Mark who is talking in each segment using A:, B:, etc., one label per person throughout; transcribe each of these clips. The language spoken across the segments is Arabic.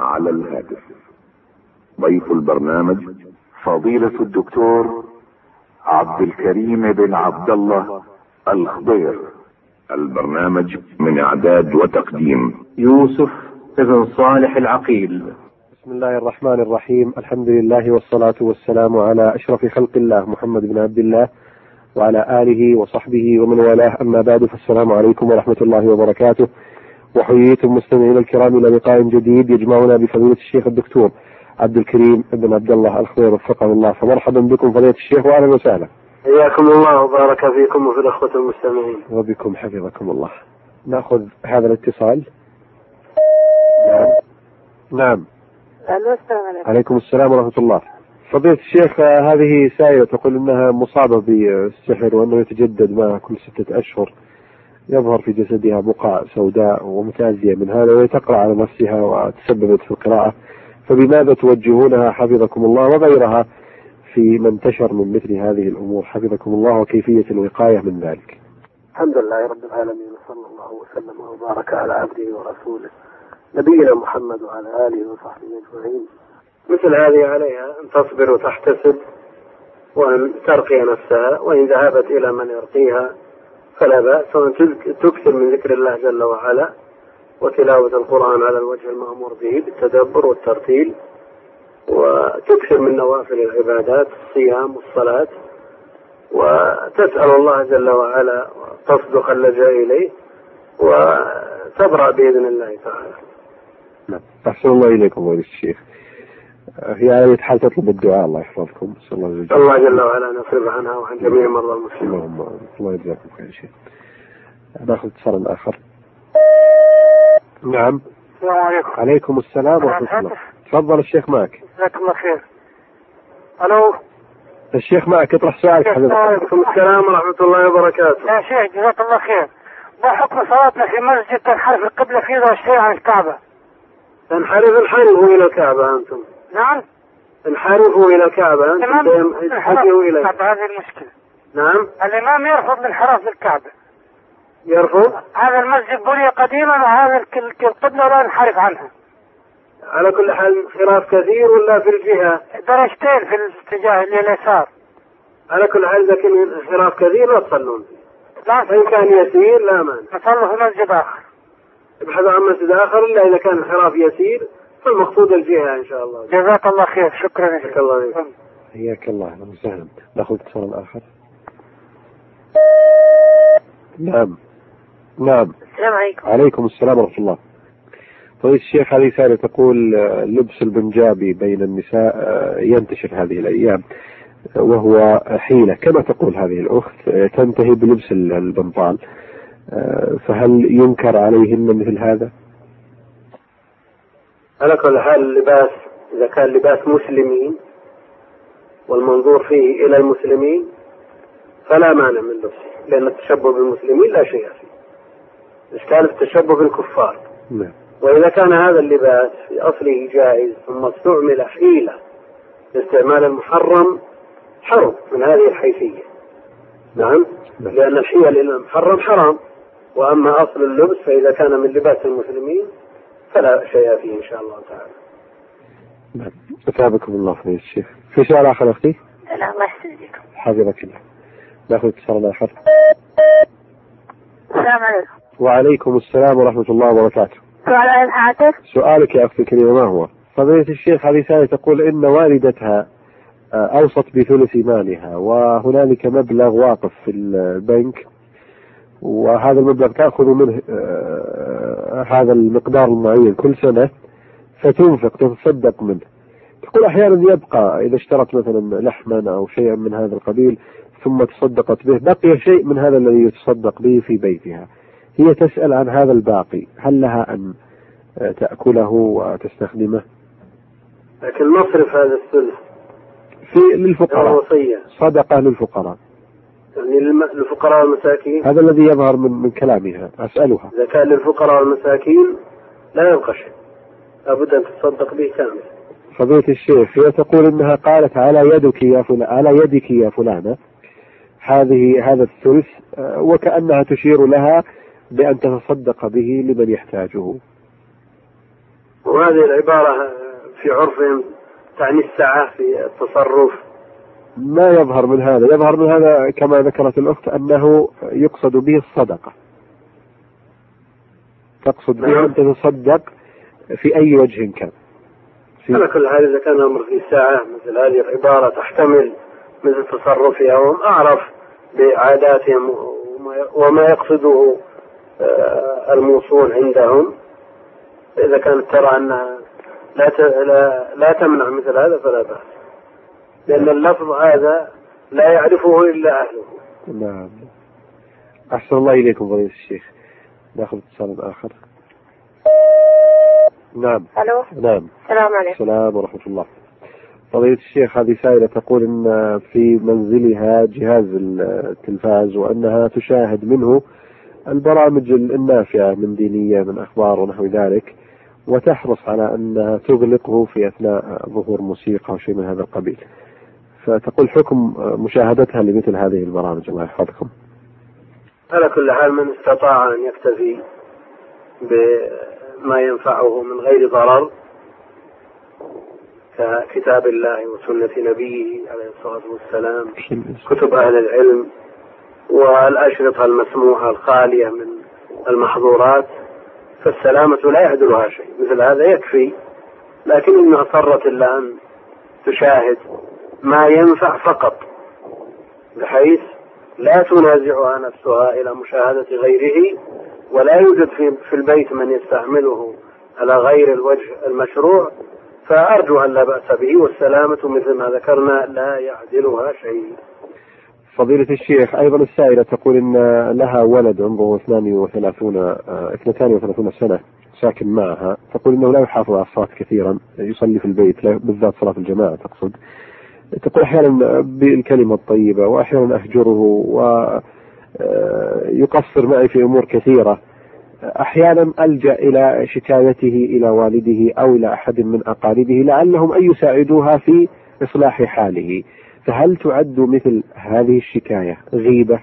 A: على الهاتف ضيف البرنامج فضيلة الدكتور عبد الكريم بن عبد الله الخضير البرنامج من اعداد وتقديم
B: يوسف ابن صالح العقيل
C: بسم الله الرحمن الرحيم الحمد لله والصلاة والسلام على أشرف خلق الله محمد بن عبد الله وعلى آله وصحبه ومن والاه أما بعد فالسلام عليكم ورحمة الله وبركاته وحييتم مستمعينا الكرام إلى لقاء جديد يجمعنا بفضيلة الشيخ الدكتور عبد الكريم بن عبد الله الخضير وفقه الله فمرحبا بكم فضيلة الشيخ وأهلا وسهلا
D: حياكم الله وبارك فيكم وفي الأخوة المستمعين
C: وبكم حفظكم الله نأخذ هذا الاتصال نعم نعم
E: الو السلام عليكم
C: عليكم السلام ورحمة الله فضيلة الشيخ آه، هذه سائلة تقول أنها مصابة بالسحر وأنه يتجدد معها كل ستة أشهر يظهر في جسدها بقع سوداء ومتأذية من هذا وهي تقرأ على نفسها وتسببت في القراءة فبماذا توجهونها حفظكم الله وغيرها في ما انتشر من مثل هذه الأمور حفظكم الله وكيفية الوقاية من ذلك
D: الحمد لله رب العالمين وصلى الله وسلم وبارك على عبده ورسوله نبينا محمد وعلى آله وصحبه أجمعين مثل هذه عليها أن تصبر وتحتسب وأن ترقي نفسها وإن ذهبت إلى من يرقيها فلا بأس وأن تذك- تكثر من ذكر الله جل وعلا وتلاوة القرآن على الوجه المأمور به بالتدبر والترتيل وتكثر من نوافل العبادات الصيام والصلاة وتسأل الله جل وعلا تصدق اللجأ إليه وتبرأ بإذن الله تعالى
C: نعم أحسن الله إليكم فضيلة الشيخ آه، هي على أي حال تطلب الدعاء الله يحفظكم نسأل الله عز وجل
D: الله جل وعلا أن يصرف عنها وعن جميع مرضى المسلمين
C: اللهم آمين. الله يجزاكم خير شيخ ناخذ اتصال اخر نعم
E: السلام عليكم
C: عليكم السلام ورحمه الله تفضل الشيخ معك
E: جزاكم الله خير الو
C: الشيخ معك اطرح سؤالك حبيبي
D: وعليكم السلام ورحمة الله وبركاته
E: يا شيخ جزاك الله خير ما حكم صلاتنا في مسجد تنحرف القبلة فيه إلى الشيء عن الكعبة
D: انحرفوا انحرفوا إلى الكعبة أنتم
E: نعم
D: انحرفوا إلى الكعبة أنتم دائما
E: انحراف
D: اتجهوا إليه
E: الكعبة هذه المشكلة
D: نعم
E: الإمام يرفض الانحراف للكعبة
D: يرفض
E: هذا المسجد بني قديما وهذا الك- الك- القبلة لا ينحرف عنها
D: على كل حال خلاف كثير ولا في الجهة
E: درجتين في الاتجاه لليسار
D: على كل حال لكن انحراف كثير لا تصلون فيه
E: لا
D: فإن كان يسير لا مانع
E: نصلي في مسجد آخر
D: ابحثوا عن مسجد آخر إلا إذا كان انحراف يسير فالمقصود الجهة إن شاء الله
E: جزاك الله خير شكرا يا
D: جزاك الله خير.
E: شيخ
C: حياك الله اهلا وسهلا ناخذ اتصال اخر نعم نعم
E: السلام عليكم
C: عليكم السلام ورحمة الله طيب الشيخ هذه سائلة تقول آه، لبس البنجابي بين النساء آه، ينتشر هذه الأيام آه، وهو حيلة كما تقول هذه الأخت آه، تنتهي بلبس ال- البنطال آه، فهل ينكر عليهن مثل هذا؟
D: على كل حال اللباس إذا كان لباس مسلمين والمنظور فيه إلى المسلمين فلا مانع من لبسه لأن التشبه بالمسلمين لا شيء فيه إشكال التشبه بالكفار
C: نعم
D: وإذا كان هذا اللباس في أصله جائز ثم استعمل حيلة لاستعمال المحرم حرم من هذه الحيثية نعم
C: نعم.
D: لأن الحيل إلى المحرم حرام وأما أصل اللبس فإذا كان من لباس المسلمين فلا شيء فيه إن شاء الله تعالى
C: نعم أتابكم الله فضيلة الشيخ في سؤال آخر أختي؟
F: لا الله يسلمك
C: حفظك الله ناخذ اتصال آخر
F: السلام عليكم
C: وعليكم السلام ورحمة الله وبركاته
F: سؤال عن الهاتف
C: سؤالك يا أختي الكريمة ما هو؟ فضيلة الشيخ هذه سائلة تقول إن والدتها آه، أوصت بثلث مالها وهنالك مبلغ واقف في البنك وهذا المبلغ تأخذ منه آه، هذا المقدار المعين كل سنة فتنفق تتصدق منه تقول أحيانا يبقى إذا اشترت مثلا لحما أو شيئا من هذا القبيل ثم تصدقت به بقي شيء من هذا الذي يتصدق به في بيتها هي تسأل عن هذا الباقي هل لها أن تأكله وتستخدمه
D: لكن مصرف هذا الثلث
C: في للفقراء
D: الوصية
C: صدقة للفقراء
D: يعني للم- للفقراء والمساكين
C: هذا الذي يظهر من من كلامها أسألها
D: إذا كان للفقراء والمساكين لا يبقى شيء لابد أن تتصدق به كامل
C: فضيلة الشيخ هي تقول إنها قالت على يدك يا فلان على يدك يا فلانة هذه هذا الثلث آه، وكأنها تشير لها بأن تتصدق به لمن يحتاجه
D: وهذه العبارة في عرفهم تعني السعة في التصرف
C: ما يظهر من هذا يظهر من هذا كما ذكرت الأخت أنه يقصد به الصدقة تقصد به
D: نعم.
C: أن تتصدق في أي وجه كان في-
D: على كل حال إذا كان الأمر في ساعة مثل هذه العبارة تحتمل مثل تصرفها وهم أعرف بعاداتهم وما- وما يقصده آه، الموصول عندهم إذا كانت ترى أنها لا ت- لا- لا تمنع مثل هذا فلا بأس لأن اللفظ هذا لا يعرفه إلا أهله
C: نعم أحسن الله إليكم فضيلة الشيخ ناخذ اتصال آخر نعم
F: الو
C: نعم
F: السلام عليكم
C: السلام ورحمة الله فضيلة الشيخ هذه سائلة تقول أن في منزلها جهاز التلفاز وأنها تشاهد منه البرامج النافعة من دينية من أخبار ونحو ذلك وتحرص على أنها تغلقه في أثناء ظهور موسيقى أو شيء من هذا القبيل فتقول حكم مشاهدتها لمثل هذه البرامج الله يحفظكم
D: على كل حال من استطاع أن يكتفي بما ينفعه من غير ضرر ككتاب الله وسنة نبيه عليه الصلاة والسلام كتب أهل العلم والأشرطة المسموحة الخالية من المحظورات فالسلامة لا يعدلها شيء مثل هذا يكفي لكن إن أصرت إلا أن تشاهد ما ينفع فقط بحيث لا تنازعها نفسها إلى مشاهدة غيره ولا يوجد في, في البيت من يستعمله على غير الوجه المشروع فأرجو أن لا بأس به والسلامة مثل ما ذكرنا لا يعدلها شيء
C: فضيلة الشيخ أيضا السائلة تقول أن لها ولد عمره 32 آه، 32 سنة ساكن معها تقول أنه لا يحافظ على الصلاة كثيرا يصلي في البيت لا- بالذات صلاة الجماعة تقصد تقول أحيانا بالكلمة الطيبة وأحيانا أهجره و آه، يقصر معي في أمور كثيرة أحيانا ألجأ إلى شكايته إلى والده أو إلى أحد من أقاربه لعلهم أن يساعدوها في إصلاح حاله فهل تعد مثل هذه الشكاية غيبة؟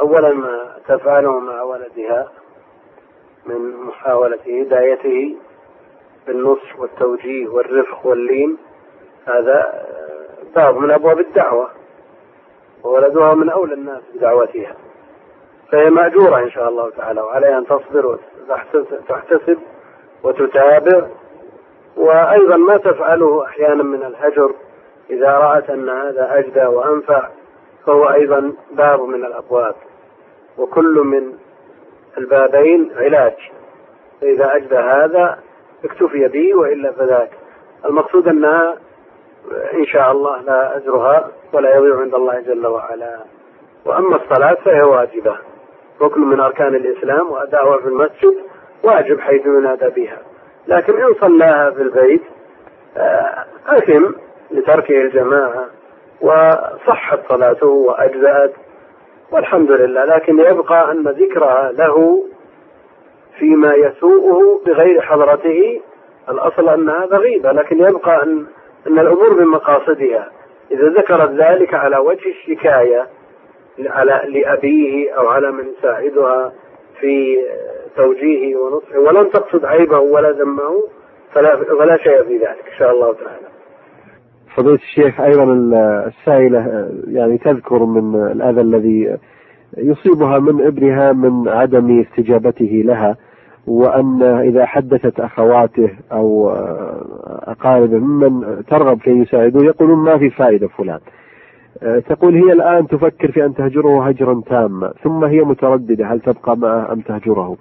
D: أولا ما تفعله مع ولدها من محاولة هدايته بالنصح والتوجيه والرفق واللين هذا آه، باب من أبواب الدعوة وولدها من أولى الناس بدعوتها فهي مأجورة إن شاء الله تعالى وعليها أن تصبر وتحتس- تحتسب وتتابع وأيضا ما تفعله أحيانا من الهجر إذا رأت أن هذا أجدى وأنفع فهو أيضا باب من الأبواب وكل من البابين علاج فإذا أجدى هذا اكتفي به وإلا فذاك المقصود أنها إن شاء الله لا أجرها ولا يضيع عند الله جل وعلا وأما الصلاة فهي واجبة ركن من أركان الإسلام وأداؤها في المسجد واجب حيث ينادى بها لكن إن صلاها في البيت آه، أثم لتركه الجماعة وصحت صلاته وأجزأت والحمد لله لكن يبقى أن ذكرها له فيما يسوءه بغير حضرته الأصل أن هذا غيبة لكن يبقى أن, أن الأمور بمقاصدها إذا ذكرت ذلك على وجه الشكاية على لأبيه أو على من يساعدها في توجيهه ونصحه ولم تقصد عيبه ولا ذمه فلا ولا شيء في ذلك إن شاء الله تعالى
C: فضيلة الشيخ أيضا السائلة يعني تذكر من الأذى الذي يصيبها من ابنها من عدم استجابته لها وأن إذا حدثت أخواته أو أقاربه ممن ترغب في أن يساعدوه يقولون ما في فائدة فلان تقول هي الآن تفكر في أن تهجره هجرا تاما ثم هي مترددة هل تبقى معه أم تهجره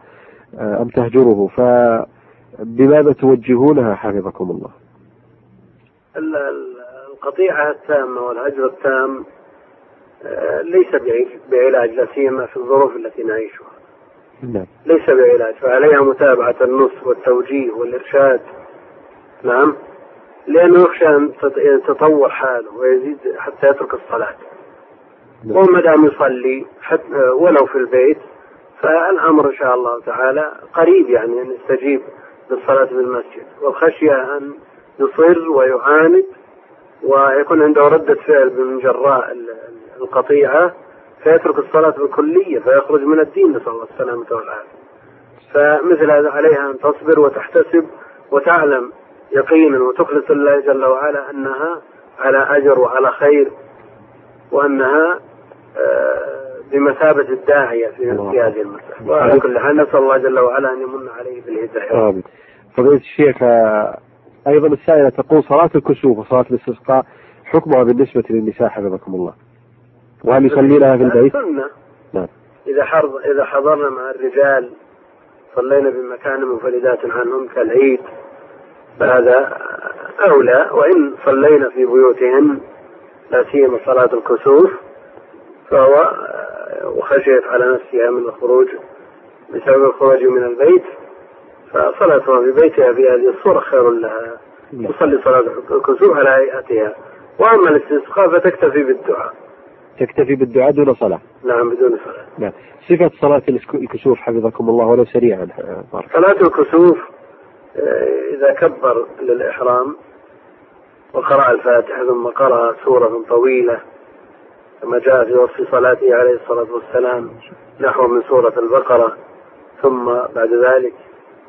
C: أم تهجره فبماذا توجهونها حفظكم الله
D: ال- ال- القطيعة التامة والهجر التام آه، ليس بعي- بعلاج لا سيما في الظروف التي نعيشها
C: نعم
D: ليس بعلاج فعليها متابعة النصح والتوجيه والإرشاد نعم لأنه يخشى أن تت- يتطور حاله ويزيد حتى يترك الصلاة
C: نعم.
D: وما دام يصلي حتى ولو في البيت فالأمر إن شاء الله تعالى قريب يعني أن يستجيب للصلاة في المسجد والخشية أن يصر ويعاند ويكون عنده ردة فعل من جراء ال- ال- القطيعة فيترك الصلاة بالكلية فيخرج من الدين نسأل الله السلامة والعافية فمثل هذا عليها أن تصبر وتحتسب وتعلم يقينا وتخلص لله جل وعلا أنها على أجر وعلى خير وأنها آه، بمثابة الداعية في
C: الله.
D: في هذه المسألة وعلى كل حال نسأل الله جل وعلا أن يمن عليه بالهداية
C: آمين. فضيلة الشيخ آه، أيضا السائلة تقول صلاة الكسوف وصلاة الاستسقاء حكمها بالنسبة للنساء حفظكم الله وهل يصلينها في البيت؟
D: سنة
C: نعم.
D: إذا حض إذا حضرنا مع الرجال صلينا بمكان منفردات عنهم كالعيد فهذا أولى وإن صلينا في بيوتهن لا سيما صلاة الكسوف فهو آه، وخشيت على نفسها من الخروج بسبب الخروج من البيت فصلاتها في بيتها في هذه الصورة خير لها
C: نعم.
D: تصلي صلاة الكسوف على هيئتها وأما الاستسقاء فتكتفي بالدعاء
C: تكتفي بالدعاء دون صلاة
D: نعم بدون صلاة
C: نعم صفة صلاة الاسك- الكسوف حفظكم الله ولو سريعا آه، بارك
D: صلاة الكسوف آه، إذا كبر للإحرام وقرأ الفاتحة ثم قرأ سورة طويلة كما جاء في وصف صلاته عليه الصلاة والسلام نحو من سورة البقرة ثم بعد ذلك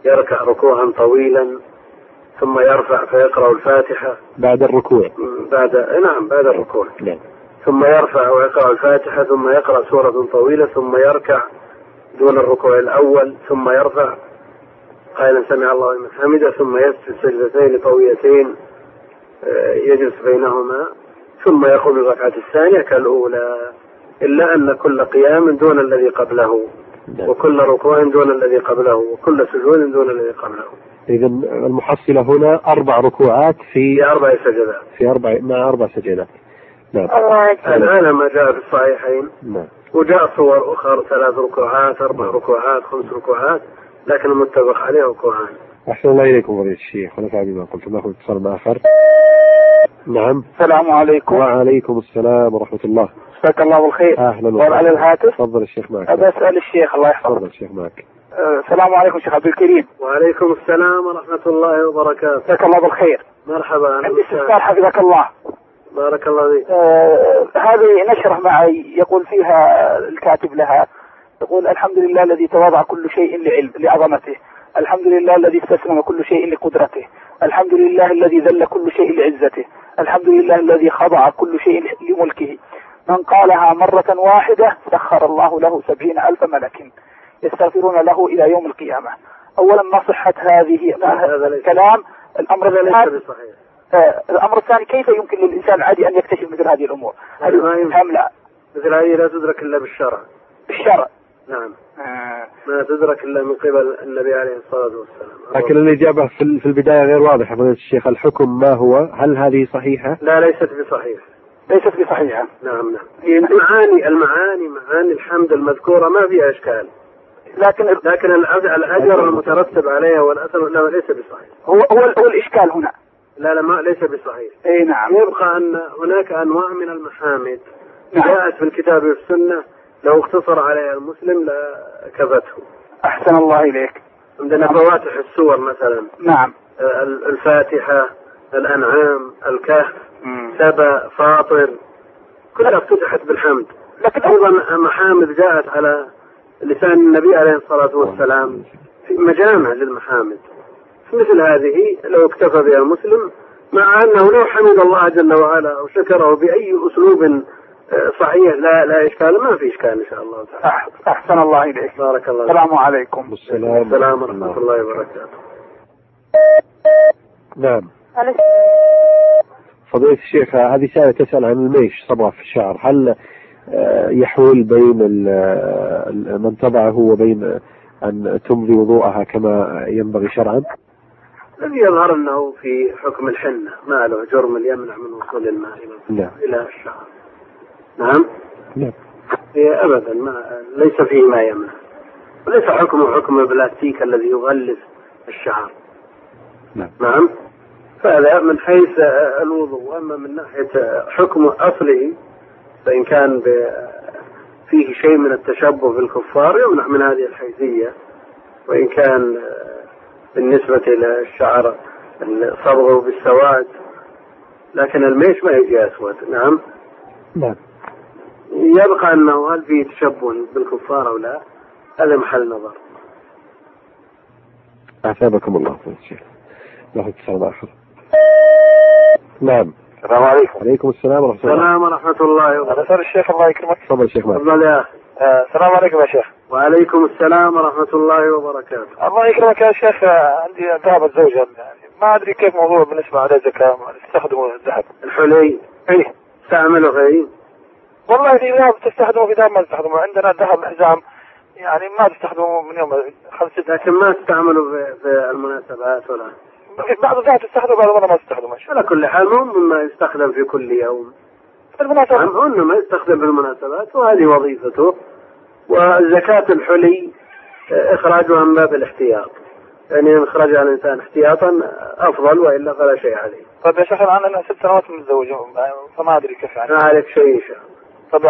D: يركع ركوعا طويلا ثم يرفع فيقرأ الفاتحة
C: بعد الركوع
D: م- بعد نعم بعد الركوع
C: نعم
D: ثم يرفع ويقرأ الفاتحة ثم يقرأ سورة طويلة ثم يركع دون الركوع الأول ثم يرفع قائلا سمع الله لمن حمده ثم يسجد سجدتين طويلتين آه، يجلس بينهما ثم يقوم الركعة الثانية كالأولى إلا أن كل قيام دون الذي قبله
C: نعم.
D: وكل ركوع دون الذي قبله وكل سجود دون الذي قبله
C: إذا المحصلة هنا أربع ركوعات في
D: في أربع سجدات
C: في أربع مع أربع سجدات نعم
F: الله يجزيك
D: الآن ما جاء في الصحيحين
C: نعم
D: وجاء صور أخرى ثلاث ركوعات أربع ركوعات خمس ركوعات لكن المتفق عليه ركوعان
C: أحسن الله إليكم فضيلة الشيخ ونفع بما قلتم ناخذ اتصال آخر نعم
E: السلام عليكم
C: وعليكم السلام ورحمة الله
E: مساك الله بالخير
C: أهلا
E: قول على الهاتف
C: تفضل الشيخ معك
E: ابى اسال الشيخ الله يحفظك
C: تفضل الشيخ معك
E: أه، السلام عليكم شيخ عبد الكريم
D: وعليكم السلام ورحمة الله وبركاته
E: مساك الله بالخير
D: مرحبا أهلا
E: عندي
D: وسهلا.
E: استفسار حفظك الله
D: بارك الله فيك
E: آه، هذه نشرة معي يقول فيها الكاتب لها يقول الحمد لله الذي تواضع كل شيء لعلم لعظمته الحمد لله الذي استسلم كل شيء لقدرته الحمد لله الذي ذل كل شيء لعزته الحمد لله الذي خضع كل شيء لملكه من قالها مرة واحدة سخر الله له سبعين ألف ملك يستغفرون له إلى يوم القيامة أولا ما صحة هذه
D: هذا ليس-
E: الكلام الأمر
D: هذا
E: الثاني
D: ليس بصحيح
E: آه، الامر الثاني كيف يمكن للانسان العادي ان يكتشف مثل هذه الامور؟ هل
D: ما يمكن.
E: يفهم لا
D: مثل هذه لا تدرك إلا بالشرع
E: بالشرع؟
D: نعم
E: آه،
D: ما تدرك إلا من قبل النبي عليه الصلاة والسلام
C: لكن الإجابة في ال- في البداية غير واضحة فضيلة الشيخ الحكم ما هو؟ هل هذه صحيحة؟
D: لا ليست بصحيح
E: ليست بصحيحه.
D: نعم نعم هي المعاني المعاني معاني الحمد المذكورة ما فيها إشكال
E: لكن ال-
D: لكن الأج- الأجر المترتب عليها والأثر لا ليس بصحيح
E: هو هو, هو الاشكال هنا.
D: لا لا ما ليس بصحيح
E: اي نعم.
D: يبقى أن هناك أنواع من المحامد
E: نعم.
D: جاءت في الكتاب والسنة لو اقتصر عليها المسلم لكفته
E: احسن الله اليك.
D: عندنا فواتح السور مثلا
E: نعم.
D: آه، الفاتحة الأنعام الكهف سبا فاطر كلها افتتحت بالحمد
E: لكن هو
D: أيضا محامد جاءت على لسان النبي عليه الصلاة والسلام في مجامع للمحامد مثل هذه لو اكتفى بها المسلم مع أنه لو حمد الله جل وعلا أو شكره بأي أسلوب آه، صحيح لا لا إشكال ما في إشكال إن شاء الله تعالى
E: أح- احسن الله اليك.
D: بارك الله فيك.
E: السلام عليكم.
C: السلام
D: السلام ورحمة الله وبركاته
C: نعم
F: خلاص.
C: فضيلة الشيخ هذه سائلة تسأل عن الميش صبغة في الشعر هل آه، يحول بين ال- آه، ال- من طبعه وبين أن تمضي وضوءها كما ينبغي شرعا؟
D: الذي يظهر أنه في حكم الحنة ما له جرم يمنع من وصول الماء إلى-
C: نعم
D: إلى الشعر نعم
C: نعم
D: هي أبدا ما ليس فيه ما يمنع وليس حكمه حكم البلاستيك الذي يغلف الشعر
C: نعم.
D: نعم فهذا من حيث آه، الوضوء وأما من ناحية آه، حكم أصله فإن كان ب- فيه شيء من التشبه بالكفار يمنع من هذه الحيثية وإن كان آه، بالنسبة إلى الشعر صبغه بالسواد لكن الميش ما يجي أسود نعم
C: نعم
D: يبقى انه هل فيه تشبه بالكفار او لا؟ هذا محل نظر.
C: أثابكم الله فضيلة الشيخ ناخذ اتصال آخر نعم
E: السلام عليكم
C: عليكم السلام ورحمة الله
D: السلام ورحمة الله وبركاته
E: مساء الشيخ الله يكرمك
C: تفضل شيخ مالك
D: تفضل يا أخي.
E: آه، السلام عليكم يا شيخ
D: وعليكم السلام ورحمة الله وبركاته
E: الله يكرمك يا شيخ آه، عندي ذهبت زوجة يعني ما ادري كيف موضوع بالنسبه على الزكاه ما تستخدموا الذهب
D: الحلي
E: ايه
D: استعمله غيري
E: والله في ذهب تستخدمه في ذهب ما تستخدمه عندنا ذهب حزام يعني ما تستخدمه من يوم خمس ست
D: لكن ما استعمله في, في المناسبات ولا
E: بعض الذهب تستخدمه بعض المرة ما تستخدمه
D: على كل حال هو مما يستخدم في كل يوم
E: طيب،
D: نعم
E: بالمناسبة
D: هو إنما يستخدم في المناسبات وهذه وظيفته وزكاة الحلي آه، إخراجها من باب الاحتياط يعني إن خرجها الإنسان احتياطا أفضل وإلا فلا شيء عليه
E: طيب يا شيخ الان انا ست سنوات متزوج فما ادري كيف يعني
D: ما عليك شيء إن شاء الله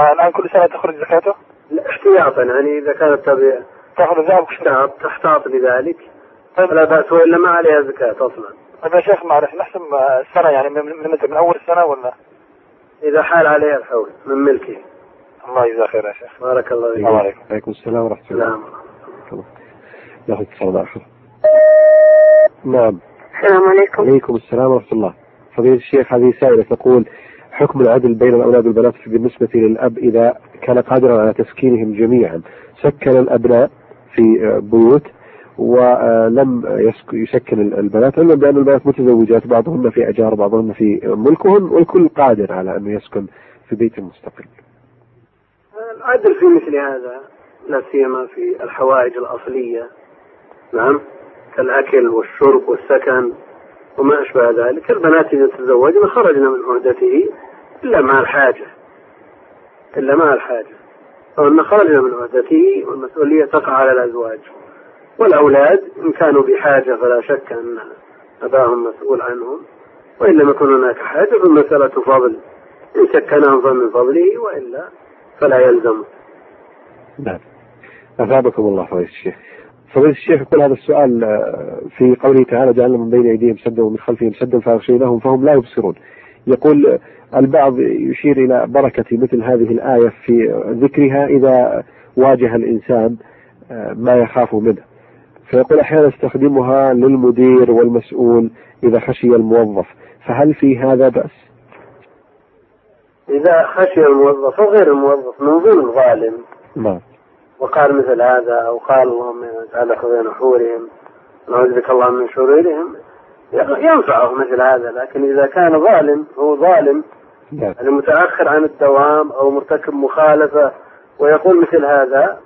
E: طب الان كل سنه تخرج زكاته
D: لا، احتياطا يعني إذا كانت تبي-
E: تاخذ الذهب وكل شيء.
D: تحتاط تحتاط بذلك
E: طيب
D: فلا بأس وإلا ما عليها زكاة أصلا
E: طيب يا شيخ معلش نحسب آه، السنه يعني من, من, من اول السنه ولا
D: إذا حال عليها الحول من ملكه
E: الله يجزاه خير يا شيخ
D: بارك الله
E: السلام
D: فيك
E: عليكم
C: عليكم السلام ورحمة الله
D: سلام
C: ناخذ اتصال آخر نعم
F: السلام عليكم
C: عليكم السلام ورحمة الله فضيلة الشيخ هذه سائلة تقول حكم العدل بين الأولاد والبنات بالنسبة للأب إذا كان قادرا على تسكينهم جميعا سكن الأبناء في آه، بيوت ولم يسك- يسكن ال- البنات علما بأن البنات متزوجات بعضهن في أجار بعضهن في ملكهن والكل قادر على أن يسكن في بيت مستقل
D: العدل في مثل هذا لا سيما في الحوائج الأصلية نعم كالأكل والشرب والسكن وما أشبه ذلك البنات إذا تزوجن خرجن من عهدته إلا مع الحاجة إلا مع الحاجة أو أن خرجن من عهدته والمسؤولية تقع على الأزواج والأولاد إن كانوا بحاجة فلا شك أن أباهم مسؤول عنهم وإن لم يكن هناك حاجة فالمسألة فضل إن سكنهم فمن فضله وإلا فلا يلزم
C: نعم أثابكم الله فضيلة الشيخ فضيلة الشيخ يقول هذا السؤال آه، في قوله تعالى جعلنا من بين أيديهم سدا ومن خلفهم سدا فأغشيناهم فهم لا يبصرون يقول آه، البعض يشير إلى بركة مثل هذه الآية في ذكرها إذا واجه الإنسان آه، ما يخاف منه فيقول أحيانا استخدمها للمدير والمسؤول إذا خشي الموظف فهل في هذا بأس؟
D: إذا خشي الموظف أو غير الموظف من ضمن الظالم
C: نعم
D: وقال مثل هذا أو قال اللهم تعالى خذين حورهم نعوذ بك الله من شرورهم ينفعه مثل هذا لكن إذا كان ظالم هو ظالم
C: نعم
D: يعني متأخر عن الدوام أو مرتكب مخالفة ويقول مثل هذا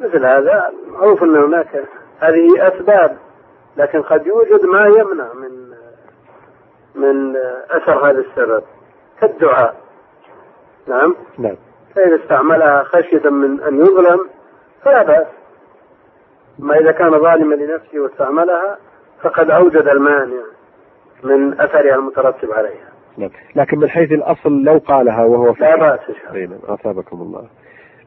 D: مثل هذا معروف أن هناك هذه أسباب لكن قد يوجد ما يمنع من من أثر هذا السبب كالدعاء نعم
C: نعم
D: فإذا استعملها خشية من أن يظلم فلا بأس ما إذا كان ظالما لنفسه واستعملها فقد أوجد المانع من أثرها المترتب عليها
C: نعم لكن من حيث الأصل لو قالها وهو في
D: لا بأس إن شاء الله
C: اي نعم اثابكم الله.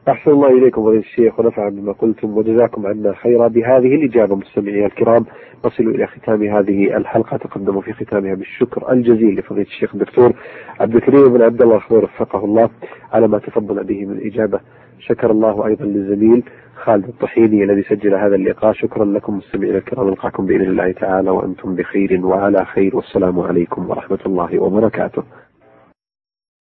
C: احسن الله اليكم فضيله الشيخ ونفع بما قلتم وجزاكم عنا خيرا بهذه الاجابه مستمعي الكرام نصل الى ختام هذه الحلقه تقدم في ختامها بالشكر الجزيل لفضيله الشيخ الدكتور عبد الكريم بن عبد الله الخضير وفقه الله على ما تفضل به من اجابه شكر الله ايضا للزميل خالد الطحيني الذي سجل هذا اللقاء شكرا لكم مستمعينا الكرام نلقاكم باذن الله تعالى وانتم بخير وعلى خير والسلام عليكم ورحمه الله وبركاته.